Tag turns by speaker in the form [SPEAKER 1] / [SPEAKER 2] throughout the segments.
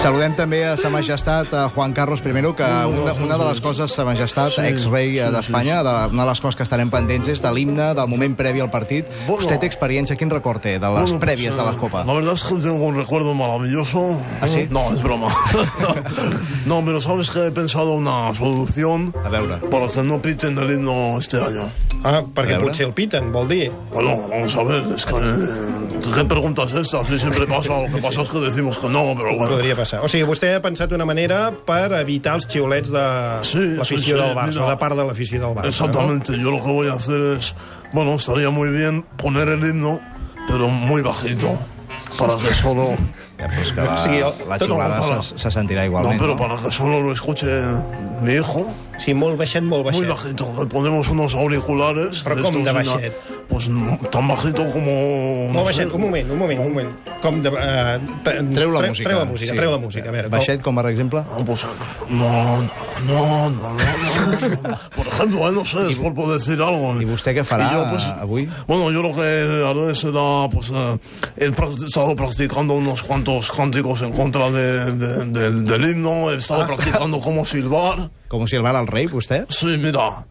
[SPEAKER 1] Saludem també a Sa Majestat, a Juan Carlos I, que una, una de les coses, Sa Majestat, sí, exrei sí, d'Espanya, de, una de les coses que estarem pendents és de l'himne, del moment previ al partit.
[SPEAKER 2] Bueno.
[SPEAKER 1] Vostè té experiència, quin record té de les
[SPEAKER 2] Bueno,
[SPEAKER 1] prèvies
[SPEAKER 2] pues,
[SPEAKER 1] de la
[SPEAKER 2] eh,
[SPEAKER 1] Copa?
[SPEAKER 2] La verdad es que tengo un recuerdo maravilloso.
[SPEAKER 1] ¿Ah, sí?
[SPEAKER 2] No, es broma. no, pero sabes que he pensado una solución
[SPEAKER 1] A veure.
[SPEAKER 2] para que no piten el himno este año.
[SPEAKER 3] Ah, perquè
[SPEAKER 1] A veure.
[SPEAKER 3] potser el piten, vol dir.
[SPEAKER 2] Bueno, vamos a ver, es que... eh, ¿Qué preguntas es esta? Si siempre pasa, lo que pasa es que decimos que no, pero bueno...
[SPEAKER 3] Podria passar. O sigui, vostè ha pensat una manera per evitar els xiulets de
[SPEAKER 2] Sí, sí, sí,
[SPEAKER 3] l'afició del Barça,
[SPEAKER 2] mira.
[SPEAKER 3] de part de l'afició del Barça.
[SPEAKER 2] Exactamente, yo lo que voy a hacer es... Bueno, estaría muy bien poner el himno, pero muy bajito, para que solo...
[SPEAKER 1] Ja, però és que la,
[SPEAKER 3] O sigui,
[SPEAKER 1] la
[SPEAKER 2] tot
[SPEAKER 1] xiulada
[SPEAKER 2] el món
[SPEAKER 1] se,
[SPEAKER 2] parla.
[SPEAKER 1] se sentirà
[SPEAKER 2] No,
[SPEAKER 1] igualment.
[SPEAKER 2] pero para que solo lo escuche mi hijo...
[SPEAKER 3] No? Sí, molt baixet, molt
[SPEAKER 1] Pues
[SPEAKER 2] Muy
[SPEAKER 3] baixet.
[SPEAKER 2] bajito, le ponemos unos auriculares.
[SPEAKER 3] Pero ¿cómo
[SPEAKER 2] estos
[SPEAKER 3] de
[SPEAKER 2] en la-
[SPEAKER 3] bachet?
[SPEAKER 2] Pues no, tan bajito como.
[SPEAKER 3] Molt
[SPEAKER 2] no sé,
[SPEAKER 3] baixet, un moment, un moment, un moment. Com de, eh, tre-
[SPEAKER 1] Treu la
[SPEAKER 3] tre-
[SPEAKER 1] música.
[SPEAKER 3] Treu la música, treu la música. A veure,
[SPEAKER 1] Baixet, com per exemple?
[SPEAKER 2] No, pues, no, no, no, no, no, no. Por ejemplo, eh, no sé, es por, por decir algo.
[SPEAKER 1] ¿Y usted qué fará,
[SPEAKER 2] yo, pues,
[SPEAKER 1] avui?
[SPEAKER 2] Bueno, yo lo que haré será, pues, eh, he prac- estado practicando unos cuantos cánticos en contra de, de- del- del himno, he
[SPEAKER 1] Ah.
[SPEAKER 2] estado practicando cómo silbar.
[SPEAKER 1] Com si el van al rei, vostè?
[SPEAKER 2] Sí, mira,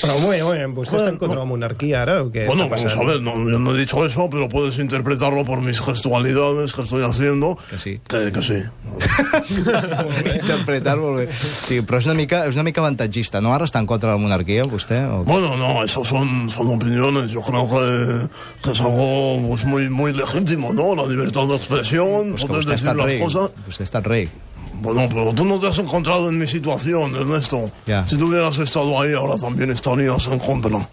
[SPEAKER 3] Però un moment, un moment, vostè està en
[SPEAKER 2] Bueno,
[SPEAKER 3] contra de la monarquia ara o què
[SPEAKER 2] Bueno,
[SPEAKER 3] està
[SPEAKER 2] vamos
[SPEAKER 3] passant?
[SPEAKER 2] a ver, no, yo no he dicho eso, pero puedes interpretarlo por mis gestualidades que estoy haciendo.
[SPEAKER 1] Que sí.
[SPEAKER 2] Que, que sí.
[SPEAKER 1] Interpretar, molt bé. Sí, però és una, mica, és una mica avantatgista, no? Ara està en contra de la monarquia, vostè? O...
[SPEAKER 2] Bueno, no, eso son, son opiniones. Yo creo que, que es algo pues, muy, muy legítimo, ¿no? La libertad de expresión,
[SPEAKER 1] Pues que
[SPEAKER 2] poder
[SPEAKER 1] vostè ha
[SPEAKER 2] decir
[SPEAKER 1] estat
[SPEAKER 2] las
[SPEAKER 1] rei.
[SPEAKER 2] cosas.
[SPEAKER 1] Vostè ha estat rei.
[SPEAKER 2] Bueno, pero tú no te has encontrado en mi situación, Ernesto.
[SPEAKER 1] Ya.
[SPEAKER 2] Si tú hubieras estado ahí, ahora también estarías en contra.
[SPEAKER 1] No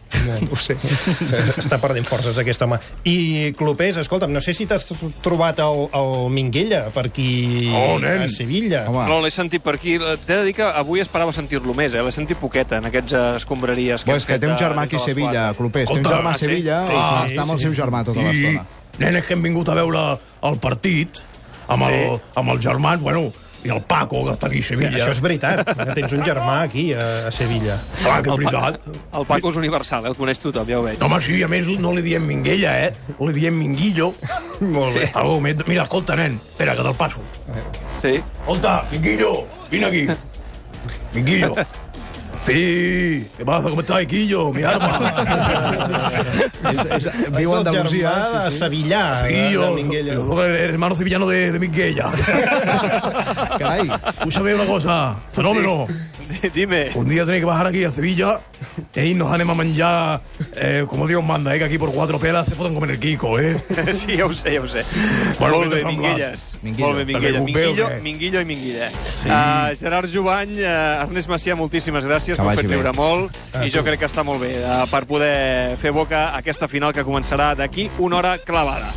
[SPEAKER 1] ho sé.
[SPEAKER 3] Està perdent forces aquest home. I Clopés, escolta'm, no sé si t'has tr- trobat el, el Minguella per aquí
[SPEAKER 2] Oh, nen.
[SPEAKER 3] a Sevilla.
[SPEAKER 1] Home,
[SPEAKER 4] No, l'he sentit per aquí. Eh, T'he de dir que avui esperava sentir-lo més, eh? L'he sentit poqueta en aquests eh, escombraries.
[SPEAKER 1] Bo, és que
[SPEAKER 4] hem
[SPEAKER 1] té un
[SPEAKER 4] fet, eh,
[SPEAKER 1] germà aquí a
[SPEAKER 4] des de les
[SPEAKER 1] Sevilla,
[SPEAKER 4] quatre.
[SPEAKER 1] Clopés. Té un
[SPEAKER 2] Compte,
[SPEAKER 1] germà a
[SPEAKER 4] ah, sí?
[SPEAKER 1] Sevilla
[SPEAKER 4] Sí,
[SPEAKER 1] i
[SPEAKER 3] sí,
[SPEAKER 1] està amb el
[SPEAKER 3] sí.
[SPEAKER 1] seu germà tota
[SPEAKER 5] I
[SPEAKER 1] l'estona.
[SPEAKER 5] nenes que hem vingut a veure el partit amb, sí. el, amb els germans, bueno, i el Paco, que està aquí a Sevilla.
[SPEAKER 3] Això és veritat, que tens un germà aquí a, a Sevilla.
[SPEAKER 5] Clar, que és veritat.
[SPEAKER 4] El Paco és universal, eh? el coneix tothom, ja ho veig.
[SPEAKER 5] No, home, sí, a més no li diem Minguella, eh? Li diem Minguillo.
[SPEAKER 3] Molt bé.
[SPEAKER 5] Algú més. Mira, escolta, nen, espera, que te'l passo.
[SPEAKER 4] Sí.
[SPEAKER 5] Escolta, Minguillo, vine aquí. Minguillo. Sí, ¿qué pasa? ¿Cómo estás, Quillo? Mi arma.
[SPEAKER 1] És, és, viu
[SPEAKER 3] És
[SPEAKER 1] a
[SPEAKER 3] el
[SPEAKER 1] Andalusia.
[SPEAKER 3] germà de
[SPEAKER 1] Sí, sí.
[SPEAKER 3] Sevillà, eh, de, de
[SPEAKER 5] Quillo,
[SPEAKER 3] Minguella.
[SPEAKER 5] hermano sevillano de, de Minguella.
[SPEAKER 1] Carai,
[SPEAKER 5] Escúchame una cosa, fenómeno.
[SPEAKER 4] Dime.
[SPEAKER 5] Un día tenéis que bajar aquí a Sevilla e irnos a Nema Manjá, eh, como Dios manda, eh, que aquí por cuatro pelas se pueden comer el Kiko, ¿eh?
[SPEAKER 4] Sí, ja ho sé, ja ho sé.
[SPEAKER 5] Bueno,
[SPEAKER 4] Molt bé,
[SPEAKER 5] m'he semblat.
[SPEAKER 4] Minguelles.
[SPEAKER 1] Minguillo.
[SPEAKER 4] Molt bé, Minguelles.
[SPEAKER 5] També bombeu,
[SPEAKER 4] Minguillo,
[SPEAKER 5] eh?
[SPEAKER 4] Minguillo i Minguilla. Sí. Uh, Gerard Jovany, uh, Ernest Macià, moltíssimes gràcies
[SPEAKER 1] Que
[SPEAKER 4] per
[SPEAKER 1] vagi
[SPEAKER 4] fer
[SPEAKER 1] bé. Ah,
[SPEAKER 4] riure molt. I eh, jo crec que està molt bé uh, per poder fer boca a aquesta final que començarà d'aquí una hora clavada.